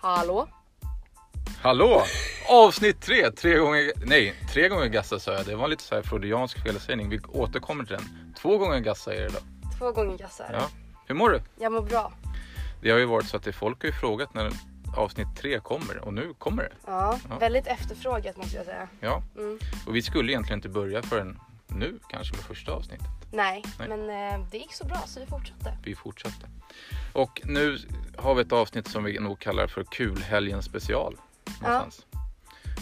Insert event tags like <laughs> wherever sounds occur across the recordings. Hallå? Hallå! Avsnitt tre, tre gånger, nej, tre gånger gassa sa jag. Det var en lite så här freudiansk felsägning. Vi återkommer till den. Två gånger gassa är det då. Två gånger gassar. Ja. Hur mår du? Jag mår bra. Det har ju varit så att det, folk har ju frågat när avsnitt tre kommer och nu kommer det. Ja, Ja. väldigt efterfrågat måste jag säga. Ja, Mm. och vi skulle egentligen inte börja förrän nu kanske med första avsnittet. Nej, Nej. men eh, det gick så bra så vi fortsatte. Vi fortsatte. Och nu har vi ett avsnitt som vi nog kallar för kulhelgen special. Någonstans.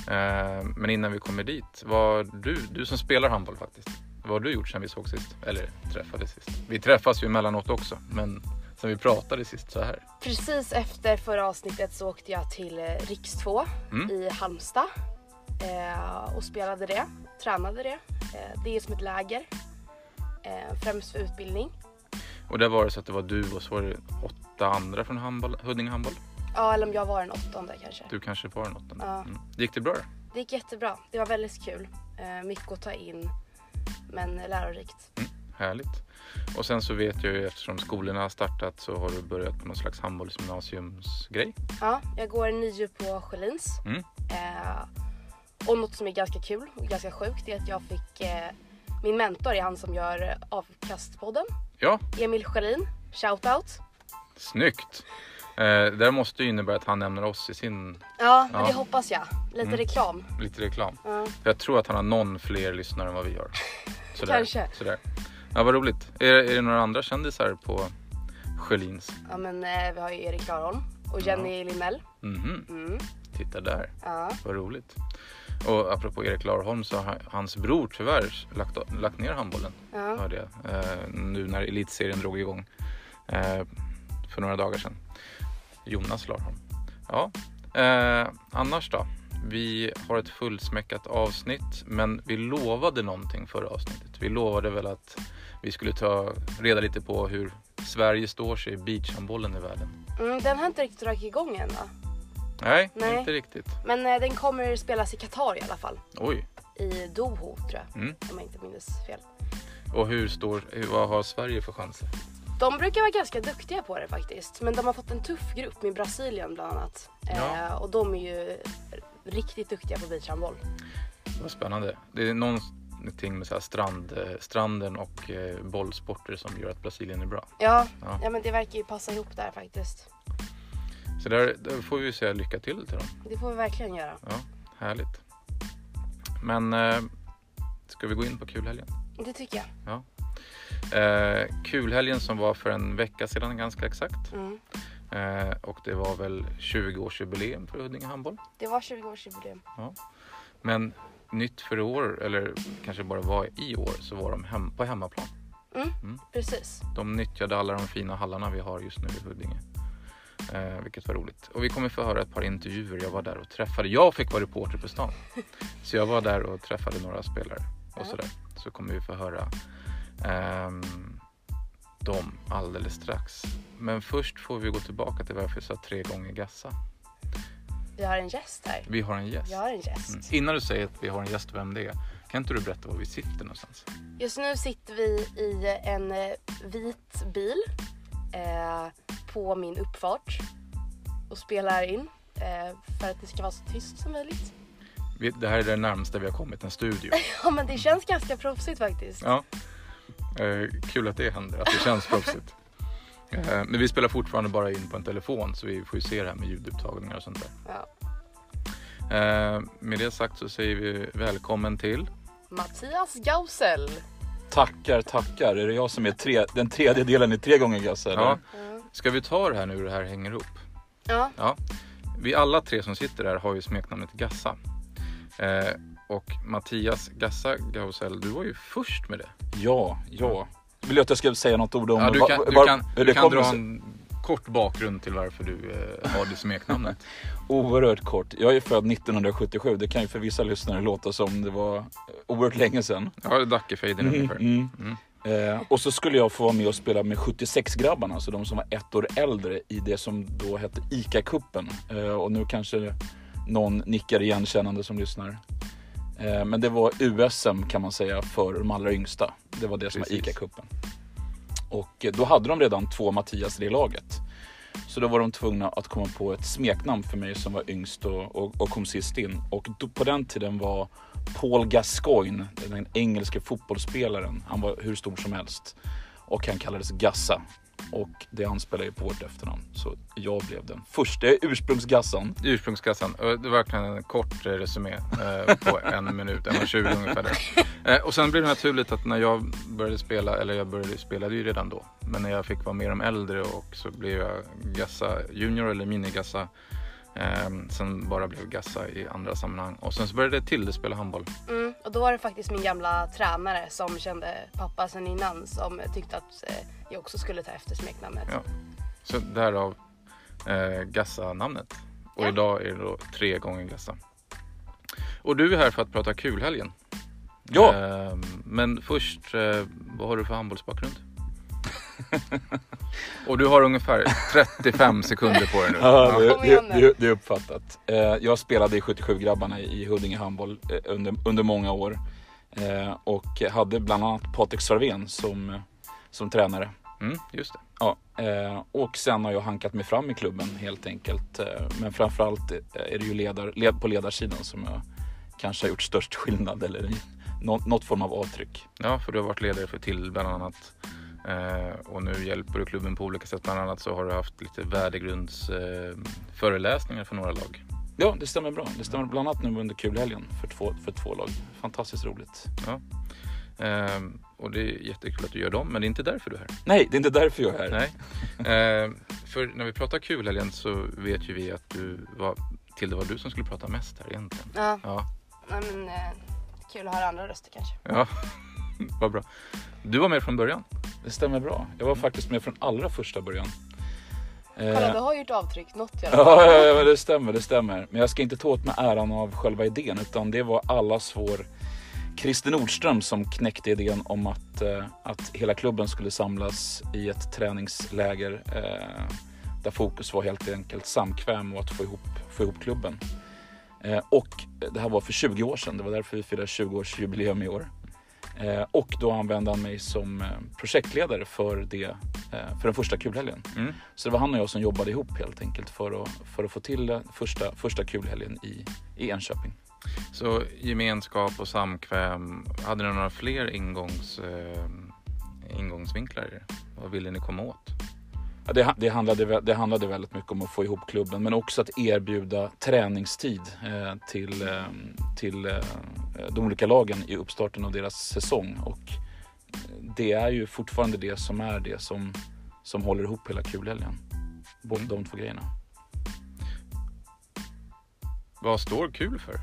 Eh, Men innan vi kommer dit, vad du, du som spelar handboll faktiskt. Vad har du gjort sedan vi såg sist? Eller träffades sist? Vi träffas ju emellanåt också, men sen vi pratade sist så här. Precis efter förra avsnittet så åkte jag till eh, Riks 2 Mm. i Halmstad eh, och spelade det, tränade det. Eh, det är som ett läger, eh, främst för utbildning. Och där var det så att det var du och så var det åtta andra från handboll, Huddinge handboll. Ja, eller om jag var den åttonde kanske. Du kanske var den åttonde. Ja. Mm. Gick det bra då? Det gick jättebra. Det var väldigt kul. Eh, mycket att ta in, men lärorikt. Härligt. Och sen så vet jag ju eftersom skolorna har startat så har du börjat på någon slags handbollsgymnasiumsgrej. Ja, jag går nio på Sjölins. Mm. Eh, och något som är ganska kul och ganska sjukt är att jag fick eh, min mentor är han som gör eh, avkastpodden. Ja, Emil Sjölin, shoutout. Snyggt! Eh, det här måste ju innebära att han nämner oss i sin Ja, men Ja. det hoppas jag. Lite Mm. reklam. lite reklam. Ja. För jag tror att han har någon fler lyssnare än vad vi har. Sådär. Kanske. Sådär. Ja, vad roligt. Är, är det några andra kändisar på Sjölins? ja, men eh, vi har ju Erik Klarholm och Jenny Limell. Mhm, Mm. titta där. Ja. Vad roligt. Och apropå Erik Larholm så har hans bror tyvärr lagt, lagt ner handbollen. Ja. Hörde jag. Eh, nu när elitserien drog igång eh, för några dagar sedan. Jonas Larholm. Ja, eh, annars då? Vi har ett fullsmäckat avsnitt, men vi lovade någonting förra avsnittet. Vi lovade väl att vi skulle ta reda lite på hur Sverige står sig i beachhandbollen i världen. Mm, den har inte riktigt dragit igång än va? Nej, Nej. inte riktigt. Men eh, den kommer spelas i Qatar i alla fall. Oj. I Doho tror jag, Mm. om jag inte minns fel. Och hur står, hur- vad har Sverige för chanser? De brukar vara ganska duktiga på det faktiskt. Men de har fått en tuff grupp med Brasilien bland annat. Ja. Eh, och de är ju riktigt duktiga på beachhandboll. Vad spännande. Det är någonting med så här strand, eh, stranden och eh, bollsporter som gör att Brasilien är bra. Ja, Ja. ja. ja, men det verkar ju passa ihop där faktiskt. Så där, där får vi ju säga lycka till till dem. Det får vi verkligen göra. Ja, härligt. Men eh, ska vi gå in på kulhelgen? Det tycker jag. Eh, kulhelgen som var för en vecka sedan ganska exakt. Mm. Eh, och det var väl 20-årsjubileum för Huddinge handboll. Det var 20-årsjubileum. Men nytt för i år, eller kanske bara var i år, så var de hem, på hemmaplan. Mm. Mm. Precis. De nyttjade alla de fina hallarna vi har just nu i Huddinge. Eh, vilket var roligt. Och vi kommer få höra ett par intervjuer. Jag var där och träffade. Jag fick vara reporter på stan. Så jag var där och träffade några spelare. Och Ja. sådär. Så kommer vi få höra ehm, dem alldeles strax. Men först får vi gå tillbaka till varför jag sa tre gånger gassa. Vi har en gäst här. Vi har en gäst. Jag har en gäst. Mm. Innan du säger att vi har en gäst och vem det är. Kan inte du berätta var vi sitter någonstans? Just nu sitter vi i en eh, vit bil eh, på min uppfart och spelar in eh, för att det ska vara så tyst som möjligt. Vi, det här är det närmaste vi har kommit en studio. <laughs> Ja, men det känns ganska proffsigt faktiskt. Ja. Eh, kul att det händer, att det känns proffsigt. Eh, men vi spelar fortfarande bara in på en telefon så vi får ju se det här med ljudupptagningar och sånt där. Ja. Eh, med det sagt så säger vi välkommen till... Mattias Gausel. Tackar, tackar. Är det jag som är tre, den tredje delen i tre gånger Gasse? eller? Ja. Ska vi ta det här nu hur det här hänger ihop? Mm. Ja, Vi alla tre som sitter här har ju smeknamnet Gassa. Eh, och Mattias Gassa Gausell, du var ju först med det. ja, ja. Vill du att jag ska säga något ord om Ja, du va- kan, va- du kan, hur du det kan kommer dra sig? en kort bakgrund till varför du eh, har det smeknamnet. <laughs> Oerhört kort. Jag är född 1977. Det kan ju för vissa lyssnare låta som det var eh, oerhört länge sedan. Ja, Dackefejden ungefär. Mm. Eh, och så skulle jag få vara med och spela med 76-grabbarna, alltså de som var ett år äldre i det som då hette ICA-cupen. Eh, och nu kanske någon nickar igenkännande som lyssnar. Eh, men det var USM kan man säga för de allra yngsta. Det var det som Precis. var ICA-cupen. Och eh, då hade de redan två Mattias i laget. Så då var de tvungna att komma på ett smeknamn för mig som var yngst och, och, och kom sist in. Och då, på den tiden var Paul Gascoigne, den engelske fotbollsspelaren, han var hur stor som helst. Och han kallades Gassa. Och det anspelar ju på vårt efternamn. Så jag blev den första ursprungsgassan. Ursprungskassan, eh, det var verkligen en kort eh, resumé eh, på en minut, en och tjugo ungefär. Där. Eh, Och sen blev det naturligt att när jag började spela, eller jag började spelade ju redan då, men när jag fick vara med de äldre och så blev jag Gassa Junior eller Mini-Gassa. Eh, Sen bara blev Gassa i andra sammanhang. Och sen så började Tilde spela handboll. Mm, och då var det faktiskt min gamla tränare som kände pappa sen innan som tyckte att eh, jag också skulle ta efter smeknamnet. Ja. Så därav eh, Gassa-namnet. Och Ja. idag är det då tre gånger Gassa. Och du är här för att prata kulhelgen. Ja, Eh, men först, eh, vad har du för <laughs> handbollsbakgrund? Och du har ungefär <laughs> 35 sekunder på dig nu. Ja, det, Kom igen det, nu. det, det är uppfattat. Eh, jag spelade i 77-grabbarna i Huddinge handboll eh, under, under många år. Eh, och hade bland annat Patrik Sarvén som, eh, som tränare. Mm, just det. Ja, eh, och sen har jag hankat mig fram i klubben helt enkelt. Eh, men framförallt eh, är det ju ledar, led, på ledarsidan som jag kanske har gjort störst skillnad eller något, något form av avtryck. Ja, för du har varit ledare för till bland annat. Eh, och nu hjälper du klubben på olika sätt. Bland annat så har du haft lite värdegrundsföreläsningar eh, föreläsningar för några lag. Ja, det stämmer bra. Det stämmer bland annat nu under kulhelgen för två, för två lag. Fantastiskt roligt. Eh, och det är jättekul att du gör dem, men det är inte därför du är här. Nej, det är inte därför jag är här. Nej. Eh, för när vi pratar kulhelgen så vet ju vi att du var, till det var du som skulle prata mest här egentligen. Ja, Ja, nej, men, eh, kul att höra andra röster kanske. ja. <laughs> vad bra. Du var med från början. Det stämmer bra. Jag var faktiskt med från allra första början. Eh, Kolla, du har gjort avtryck, något i alla fall. Ja, ja, ja, men det stämmer, det stämmer. Men jag ska inte ta åt mig äran av själva idén, utan det var allas vår Christer Nordström som knäckte idén om att, eh, att hela klubben skulle samlas i ett träningsläger eh, där fokus var helt enkelt samkväm och att få ihop, få ihop klubben. Eh, och det här var för 20 år sedan, det var därför vi firar 20-årsjubileum i år. Eh, och då använde han mig som eh, projektledare för, det, eh, för den första kulhelgen. Mm. Så det var han och jag som jobbade ihop helt enkelt för att, för att få till eh, första, första kulhelgen i, i Enköping. Så gemenskap och samkväm. Hade ni några fler ingångs, eh, ingångsvinklar i det? Vad ville ni komma åt? Ja, det, ha- det, handlade, vä- det handlade väldigt mycket om att få ihop klubben men också att erbjuda träningstid eh, till, eh, till eh, de olika lagen i uppstarten av deras säsong. Och det är ju fortfarande det som är det som, som håller ihop hela kulhelgen. Både de två grejerna. Vad står kul <laughs> för?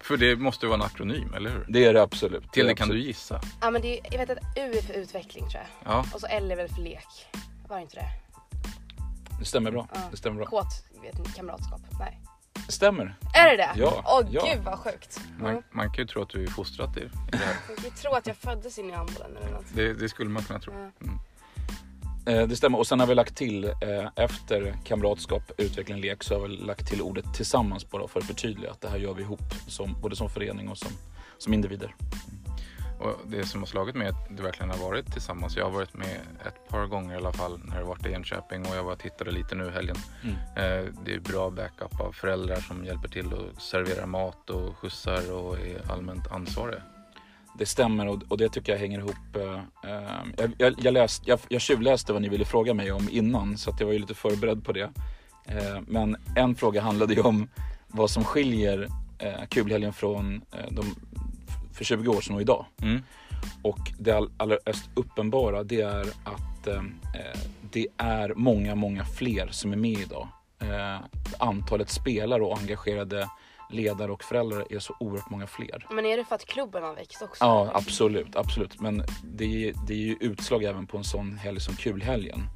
för det måste ju vara en akronym, eller hur? Det är det absolut. Till är det kan du absolut. gissa. Ja, men det är, jag vet att U är för utveckling tror jag. Ja, Och så L är väl för lek. Var det inte det? Det stämmer bra. Ja. Det stämmer bra. Kåt, vet ni, kamratskap. Nej. Stämmer. Är det det? Ja, Åh ja. gud vad sjukt. man, Mm. man kan ju tro att du är fostrad i i det här. Man kan ju tro att jag föddes in i handbollen eller något. Det, det skulle man kunna tro. Ja. Eh, Det stämmer. Och sen har vi lagt till eh, efter kamratskap, utveckling, lek så har vi lagt till ordet tillsammans bara för att förtydliga att det här gör vi ihop, som, både som förening och som, som individer. Och det som har slagit mig är att du verkligen har varit tillsammans. Jag har varit med ett par gånger i alla fall när du varit i Enköping och jag var och tittade lite nu i helgen. Mm. Eh, Det är bra backup av föräldrar som hjälper till och serverar mat och skjutsar och är allmänt ansvariga. Det stämmer och, och det tycker jag hänger ihop. eh, eh, Jag, jag, jag, läst, jag, jag tjuvläste vad ni ville fråga mig om innan så att jag var ju lite förberedd på det. Eh, Men en fråga handlade ju om vad som skiljer eh, kulhelgen från eh, de, för 20 år sedan och idag. Mm. Och det all- allra mest uppenbara det är att eh, eh, det är många, många fler som är med idag. Eh, antalet spelare och engagerade ledare och föräldrar är så oerhört många fler. Men är det för att klubben har växt också? Ja, absolut, absolut. Men det är, det är ju utslag även på en sån helg som kulhelgen.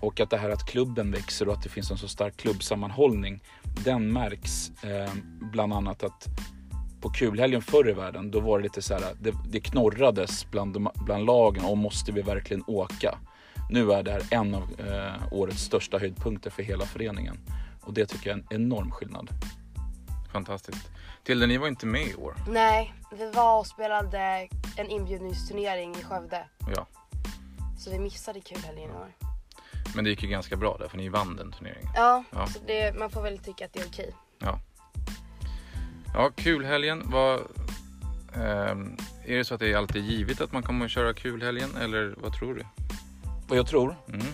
Och att det här att klubben växer och att det finns en så stark klubbsammanhållning, den märks eh, bland annat att på kulhelgen förr i världen, då var det lite så här, det, det knorrades bland, de, bland lagen om måste vi verkligen åka? Nu är det här en av eh, årets största höjdpunkter för hela föreningen. Och det tycker jag är en enorm skillnad. Fantastiskt. Tilde, ni var inte med i år. Nej, vi var och spelade en inbjudningsturnering i Skövde. Ja. Så vi missade kulhelgen i år. Men det gick ju ganska bra där för ni vann den turneringen. Ja, Ja. så det, man får väl tycka att det är okej. Ja, kulhelgen. Vad, ehm, är det så att det är alltid givet att man kommer att köra kulhelgen eller vad tror du? Vad jag tror? Mm.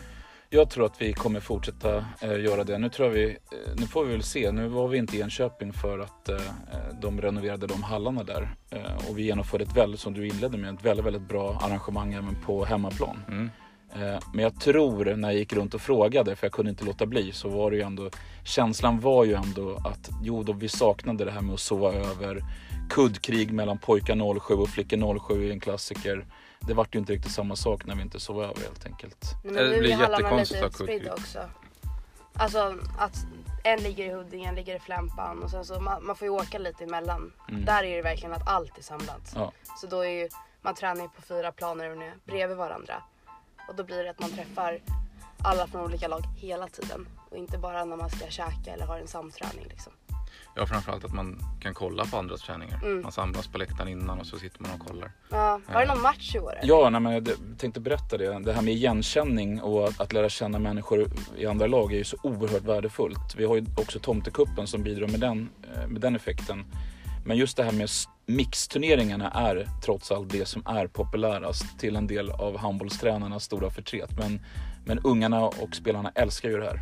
Jag tror att vi kommer fortsätta eh, göra det. Nu, tror jag vi, eh, nu får vi väl se. Nu var vi inte i Enköping för att eh, eh, de renoverade de hallarna där. Eh, och vi genomförde ett väldigt, som du inledde med, ett väldigt, väldigt bra arrangemang även på hemmaplan. Mm. Eh, Men jag tror när jag gick runt och frågade, för jag kunde inte låta bli, så var det ju ändå känslan var ju ändå att jo, då vi saknade det här med att sova över. Kuddkrig mellan pojkar 07 och flickor 07 är en klassiker. Det vart ju inte riktigt samma sak när vi inte sov över helt enkelt. Nej, Det blir är hallarna jättekonstigt att ha utspridda också. Alltså att en ligger i Huddinge, en ligger i Flämpan och sen så man, man får ju åka lite emellan. Mm. Där är det verkligen att allt är samlat. Ja. Så då är ju, man tränar ju på fyra planer och nu bredvid varandra. Och då blir det att man träffar alla från olika lag hela tiden. Och inte bara när man ska käka eller har en samträning liksom. Ja, framförallt att man kan kolla på andras träningar. Mm. Man samlas på läktaren innan och så sitter man och kollar. Ja, var det någon match i år? eller? Ja, nej, men jag tänkte berätta det. Det här med igenkänning och att, att lära känna människor i andra lag är ju så oerhört värdefullt. Vi har ju också Tomtekuppen som bidrar med den, eh, med den effekten. Men just det här med s- mixturneringarna är trots allt det som är populärast till en del av handbollstränarnas stora förtret. Men, men ungarna och spelarna älskar ju det här.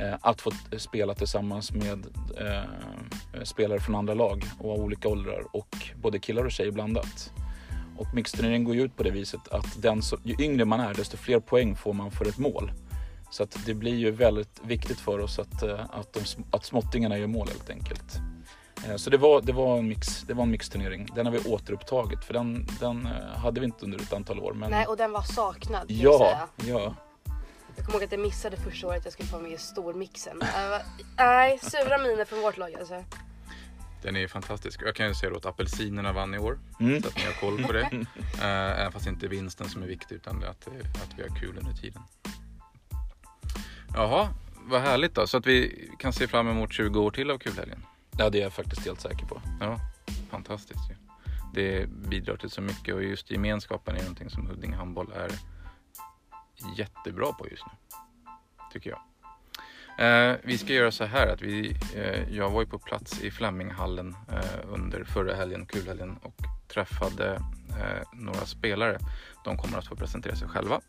Eh, Att få t- spela tillsammans med eh, spelare från andra lag och av olika åldrar och både killar och tjejer blandat. Och mixturneringen går ju ut på det viset att den som, ju yngre man är desto fler poäng får man för ett mål. Så att det blir ju väldigt viktigt för oss att, eh, att, de, sm- att småttingarna gör mål helt enkelt. Eh, Så det var, det var, en, mix, det var en mixturnering. Den har vi återupptagit för den, den eh, hade vi inte under ett antal år. Men Nej, och den var saknad kan jag ja, säga. ja, Jag kommer ihåg att jag missade första året jag skulle få med i stormixen. Jag var- Nej, sura miner från vårt lag alltså. Den är ju fantastisk. Jag kan ju säga då att apelsinerna vann i år. Mm. Så att ni har koll på det. Eh, Även fast det inte är vinsten som är viktig utan det är att, det- att vi har kul under tiden. Jaha, vad härligt då. Så att vi kan se fram emot 20 år till av kulhelgen. ja, det är jag faktiskt helt säker på. Ja, fantastiskt ju. Det bidrar till så mycket och just gemenskapen är någonting som Huddinge Handboll är jättebra på just nu. Tycker jag. Eh, vi ska göra så här att vi, eh, jag var ju på plats i Fleminghallen eh, under förra helgen, kulhelgen och träffade eh, några spelare. De kommer att få presentera sig själva.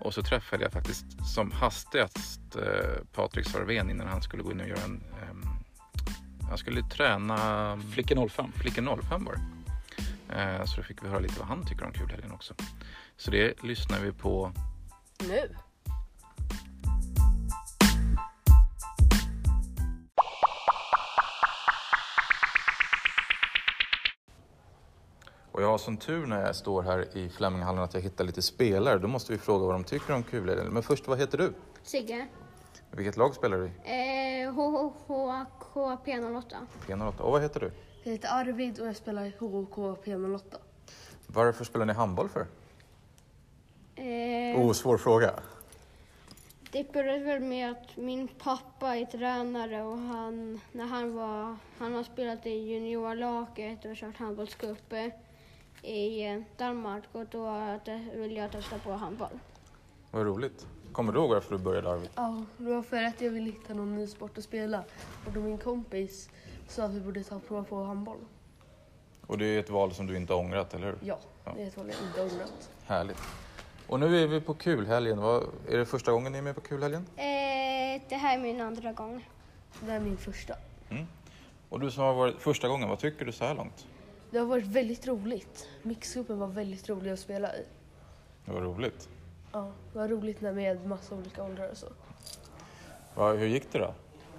Och så träffade jag faktiskt som hastigast eh, Patrik Sarvén innan han skulle gå in och göra en... ehm, han skulle träna... Flicka 05. Flicka 05 var det. Eh, Så då fick vi höra lite vad han tycker om kulhelgen också. Så det lyssnar vi på. Nu. Och jag har som tur när jag står här i Fleminghallen att jag hittar lite spelare. Då måste vi fråga vad de tycker om kulhelgen. Men först, vad heter du? Sigge. Vilket lag spelar du i? Eh, HHHKP08. P08. Och vad heter du? Jag heter Arvid och jag spelar i HHK P08. Varför spelar ni handboll för? Eh, Oh, svår fråga. det började väl med att min pappa är tränare och han, när han, var, han har spelat i juniorlaget och kört handbollscup eh, i eh, Danmark och då eh, ville jag testa på handboll. Vad roligt. Kommer du ihåg varför du började Arvid? Ja, det var för att jag ville hitta någon ny sport att spela. Och då min kompis sa att vi borde ta och prova på handboll. Och det är ett val som du inte har ångrat, eller hur? Ja, det är ett val jag inte har ångrat. Härligt. Och nu är vi på kulhelgen. Vad- Är det första gången ni är med på kulhelgen? Eh, det här är min andra gång. Det här är min första. Och du som har varit första gången, vad tycker du så här långt? Det har varit väldigt roligt. Mixgruppen var väldigt rolig att spela i. Vad roligt. Ja, det var roligt när med massa olika åldrar och så. Va, hur gick det då?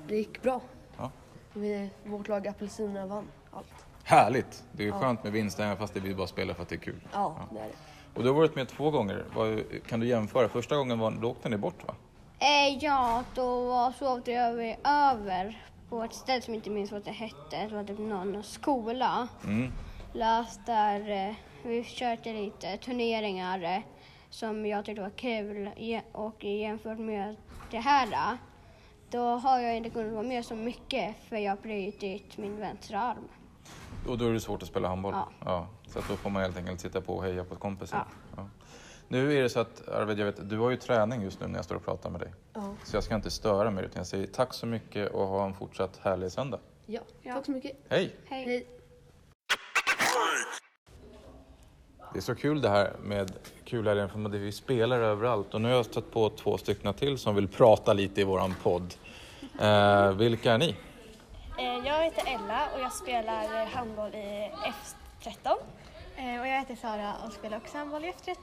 Det gick bra. Ja. Vi, vårt lag Apelsinerna vann allt. Härligt! Det är ju skönt med vinst även fast det vi bara spelar för att det är kul. Ja, det är det. Och du har varit med två gånger. Vad, kan du jämföra? Första gången var, då åkte ni bort va? Eh, ja, då sov jag över, över på ett ställe som inte minns vad det hette. Det var typ någon skola. Mm. Las där eh, vi körde lite turneringar eh, som jag tyckte var kul Je- och jämfört med det här eh, då har jag inte kunnat vara med så mycket för jag har brutit min vänstra arm. Och då är det svårt att spela handboll? Ja. Så att då får man helt enkelt sitta på och heja på kompisar? Ja. Nu är det så att Arvid, jag vet, du har ju träning just nu när jag står och pratar med dig. Ja. Så jag ska inte störa mer utan jag säger tack så mycket och ha en fortsatt härlig söndag. ja. Ja. Tack så mycket. Hej! Hej. Hej. Det är så kul det här med kulhelgen för det är ju spelare överallt och nu har jag stött på två stycken till som vill prata lite i våran podd. Eh, vilka är ni? Eh, Jag heter Ella och jag spelar eh, handboll i F13. Eh, Och jag heter Sara och spelar också handboll i F13.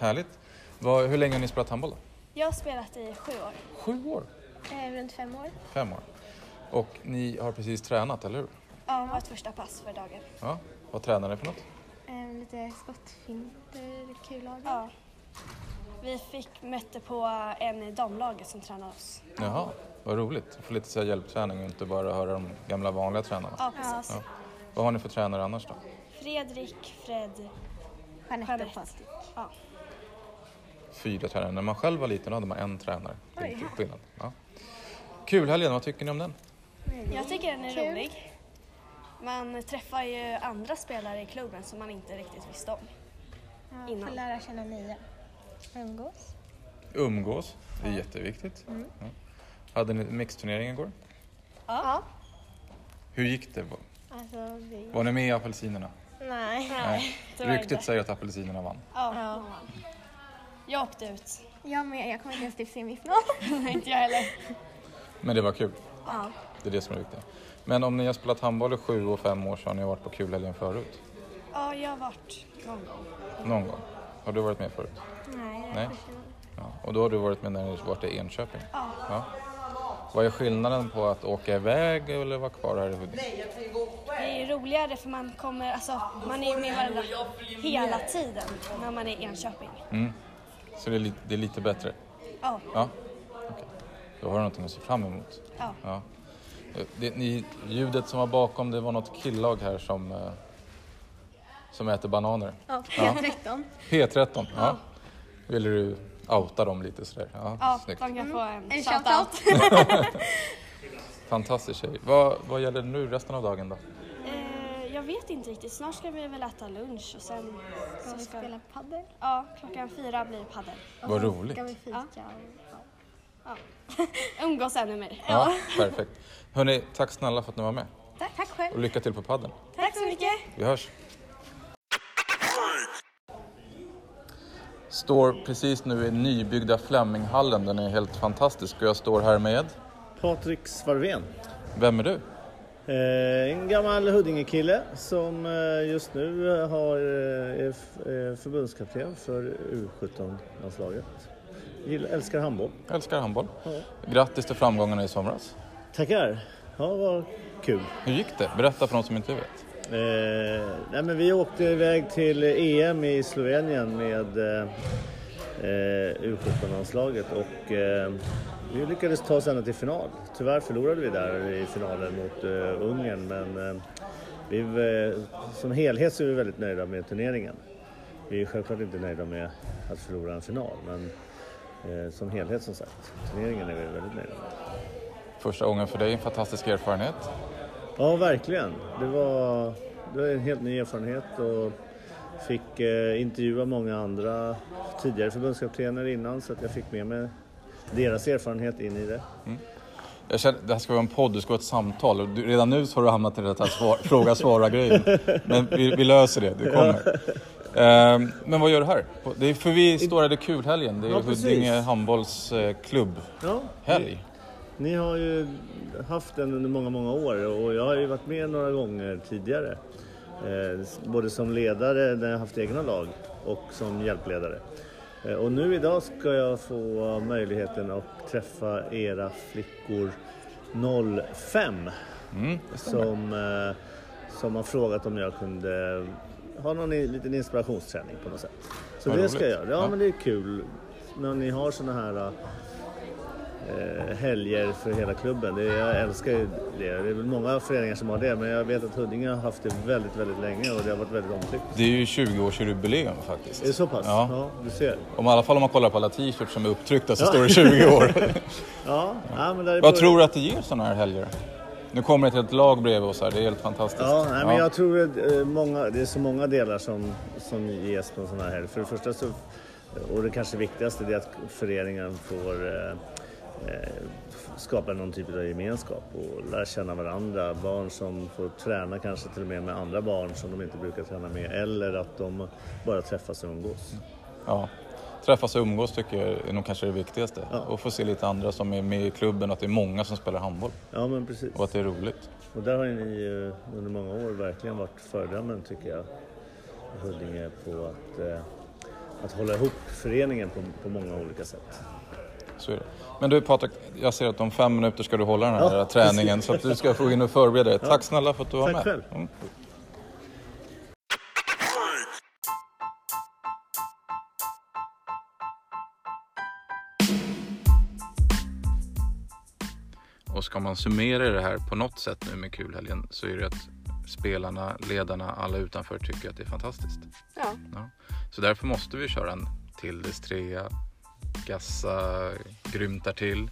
Härligt! Vad- hur länge har ni spelat handboll då? Jag har spelat i sju år, Sju år? eh, runt fem år. Fem år. Och ni har precis tränat, eller hur? Ja, vårt första pass för dagen. Ja. Vad tränar ni för något? Lite skottfinter, kullagar. Ja. Vi fick, mötte på en i damlaget som tränade oss. Jaha, vad roligt. Få lite så här hjälpträning och inte bara höra de gamla vanliga tränarna. Ja, precis. Ja. Vad har ni för tränare annars då? Fredrik, Fred, Jeanette. Ja. Fyra tränare. När man själv var liten då hade man en tränare. Det är lite skillnad. Ja. Kulhelgen, vad tycker ni om den? Jag tycker den är rolig. Man träffar ju andra spelare i klubben som man inte riktigt visste om. Får Innan. lära känna nya. Umgås. Umgås, det är jätteviktigt. Mm, Ja. Hade ni mixturnering igår? Ja. Hur gick det? Alltså, vi... Var ni med i apelsinerna? Nej. Nej. tyvärr inte. Ryktet säger att apelsinerna vann. Ja, man vann. Jag åkte ut. Jag med. Jag kommer inte ens till semifinal. <laughs> Nej, inte jag heller. Men det var kul. Ja. Det är det som är viktigt. Men om ni har spelat handboll i sju och fem år så har ni varit på kulhelgen förut? ja, jag har varit någon gång. Någon gång? Har du varit med förut? Nej. Nej. Ja. Och då har du varit med när ni varit i Enköping? Ja. Vad är skillnaden på att åka iväg eller vara kvar här i Huddinge? Det är ju roligare för man kommer, alltså man är ju med varandra hela tiden när man är i Enköping. Så det är, lite, det är lite bättre? Ja, Ja. Okej. Då har du någonting att se fram emot. ja. Ja. Eh, Det, ni, ljudet som var bakom, det var något killag här som, eh, som äter bananer. Ja, P13. P13, ja. Ville du outa dem lite sådär? Ja, ja de snyggt. kan få en Eh, En shoutout. shoutout. Fantastisk tjej. Vad, vad gäller nu resten av dagen då? Eh, jag vet inte riktigt, snart ska vi väl äta lunch och sen så Vi ska spelar padel. Ja, klockan fyra blir padel. Vad roligt. Ska vi fika? Umgås ännu mer. Ja, perfekt. Hörni, tack snälla för att ni var med. Tack. Tack själv. Och lycka till på padden. Tack så mycket! Vi hörs. Står precis nu i nybyggda Fleminghallen. Den är helt fantastisk. Och jag står här med... Patrik Svarven. Vem är du? Eh, En gammal Huddingekille som eh, just nu eh, har, eh, är f- är förbundskapten för U17-landslaget. Gillar- Älskar handboll. Jag älskar handboll. Grattis till framgångarna i somras. Tackar! Ja, vad kul. Hur gick det? Berätta för de som inte vet. Eh, nej men vi åkte iväg till EM i Slovenien med eh, eh, U17-landslaget och eh, vi lyckades ta oss ända till final. Tyvärr förlorade vi där i finalen mot eh, Ungern men eh, vi, eh, som helhet så är vi väldigt nöjda med turneringen. Vi är självklart inte nöjda med att förlora en final men eh, som helhet som sagt, turneringen är vi väldigt nöjda med. Första gången för dig, en fantastisk erfarenhet. Ja, verkligen. Det var, det var en helt ny erfarenhet och fick eh, intervjua många andra tidigare förbundskaptener innan så att jag fick med mig deras erfarenhet in i det. Jag känner, det här ska vara en podd, det ska vara ett samtal. Och Du, redan nu så har du hamnat i det här <laughs> svar, fråga svara-grejen. Men vi, vi löser det, du kommer. Ehm, men vad gör du här? På- Det är för vi står här, det är kulhelgen. Det är Ja, precis. Huddinge handbollsklubb. Ja, Helg. Ni har ju haft den under många, många år och jag har ju varit med några gånger tidigare. Eh, både som ledare när jag haft egna lag och som hjälpledare. Eh, och nu idag ska jag få möjligheten att träffa era flickor 05 som, eh, som har frågat om jag kunde ha någon i- liten inspirationsträning på något sätt. Så Vad det ska jag roligt. göra. Ja, Ja. men det är kul när ni har såna här eh, helger för hela klubben. Det, jag älskar ju det. Det är väl många föreningar som har det men jag vet att Huddinge har haft det väldigt, väldigt länge och det har varit väldigt omtyckt. Det är ju 20-årsjubileum faktiskt. Är det så pass? Ja. ja du ser. Om, I alla fall om man kollar på alla t-shirts som är upptryckta så står det 20 <laughs> år. Ja, ja. men där är Vad början. tror du att det ger sådana här helger? Nu kommer ett helt lag bredvid oss här, det är helt fantastiskt. Ja, nej, men jag tror att eh, många, det är så många delar som, som ges på en sån här helg. För det första så Och det kanske viktigaste är att föreningen får eh, eh, skapa någon typ av gemenskap och lära känna varandra. Barn som får träna kanske till och med med andra barn som de inte brukar träna med eller att de bara träffas och umgås. Ja. Träffas och umgås tycker jag är nog kanske det viktigaste. Ja. Och få se lite andra som är med i klubben och att det är många som spelar handboll. Ja men precis. Och att det är roligt. Och där har ni ju under många år verkligen varit föredömen tycker jag, Huddinge, på att, eh, att hålla ihop föreningen på, på många olika sätt. Så är det. Men du Patrik, jag ser att om fem minuter ska du hålla den här Ja, träningen så att du ska få in och förbereda dig. Tack snälla för att du var Tack med. själv. Mm. Och ska man summera det här på något sätt nu med kulhelgen så är det att spelarna, ledarna, alla utanför tycker att det är fantastiskt. Ja. Så därför måste vi köra en Tildes trea, Gassa grymtar till.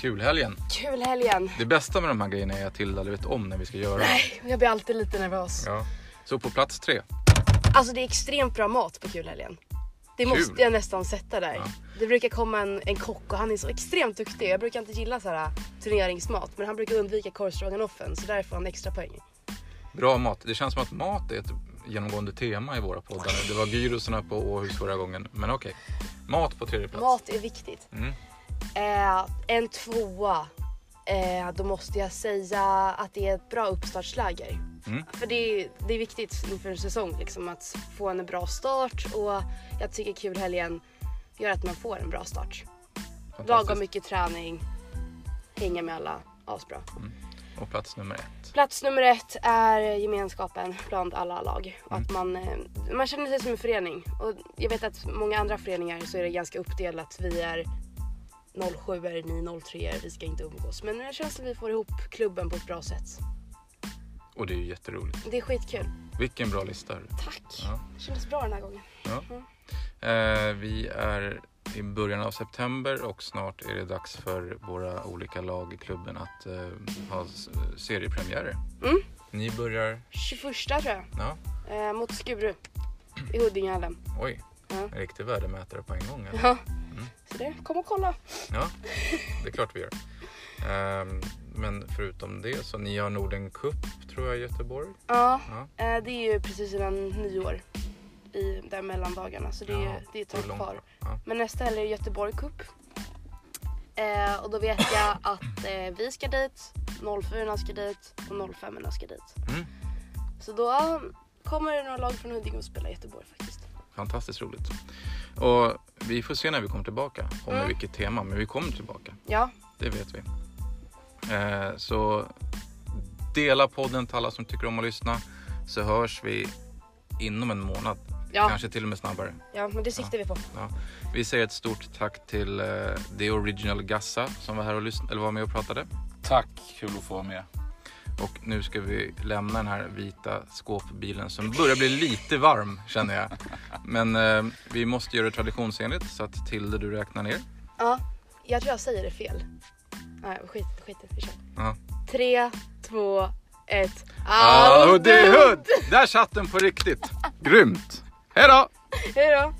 Kulhelgen! Kul helgen! Det bästa med de här grejerna är att Tilda aldrig vet om när vi ska göra. Jag blir alltid lite nervös. Ja. Så på plats tre. Alltså det är extremt bra mat på kulhelgen. Det måste jag nästan sätta där. Ja. Det brukar komma en, en kock och han är så extremt duktig. Jag brukar inte gilla så här äh, turneringsmat men han brukar undvika korvstroganoffen så där får han extra poäng. Bra mat. Det känns som att mat är ett genomgående tema i våra poddar. nu. Det var gyrosarna på Åhus förra gången, men okej. Mat på tredje plats. Mat är viktigt. Mm. Eh, en tvåa. Eh, då måste jag säga att det är ett bra uppstartsläger. Mm. För det är, det är viktigt inför en säsong liksom, att få en bra start och jag tycker kulhelgen gör att man får en bra start. Lagom Fantastiskt. mycket träning, hänga med alla, asbra. Och plats nummer ett. Plats nummer ett är gemenskapen bland alla lag. Och att man, eh, man känner sig som en förening. Och jag vet att många andra föreningar så är det ganska uppdelat. Vi är 07 ni 03 vi ska inte umgås. Men jag känns att vi får ihop klubben på ett bra sätt. Och det är ju jätteroligt. Det är skitkul. Vilken bra lista. hörru. Tack! Ja. Det kändes bra den här gången. Eh, vi är i början av september och snart är det dags för våra olika lag i klubben att eh, ha s- seriepremiärer. Mm. Ni börjar... 21 tror jag. Ja, Eh, mot Skuru i Huddingehallen. oj. Ja. En riktig värdemätare på en gång. Eller? Ja. Mm. Så det, kom och kolla. Ja, det är klart vi gör. Ehm, men förutom det så ni har Norden Cup tror jag i Göteborg. Ja, Ja. eh, det är ju precis innan nyår. I, där mellan dagarna. Så det är, ju- Jaha, det är ett det är tag långt kvar. Ja. Men nästa helg är det Göteborg Cup. Eh, och då vet <laughs> jag att eh, vi ska dit, 04 ska dit och 05 ska dit. Mm. Så då eh, kommer det några lag från Huddinge och spela i Göteborg faktiskt. Fantastiskt roligt. Och vi får se när vi kommer tillbaka om Mm. vilket tema, men vi kommer tillbaka. Ja, Det vet vi. Eh, så dela podden till alla som tycker om att lyssna så hörs vi inom en månad. ja, Kanske till och med snabbare. ja men det siktar vi på. Vi säger ett stort tack till eh, The Original Gassa som var här och lyssnade, eller var med och pratade. Tack, kul att få vara med. Och nu ska vi lämna den här vita skåpbilen som börjar bli lite varm <laughs> känner jag. Men eh, vi måste göra det traditionsenligt så att Tilde du räknar ner. Ja, jag tror jag säger det fel. Nej, skit skit i det, vi kör. Ja. Tre, två, ett. Ah, det är Där satt den på riktigt. Grymt. Hej då! Hej då!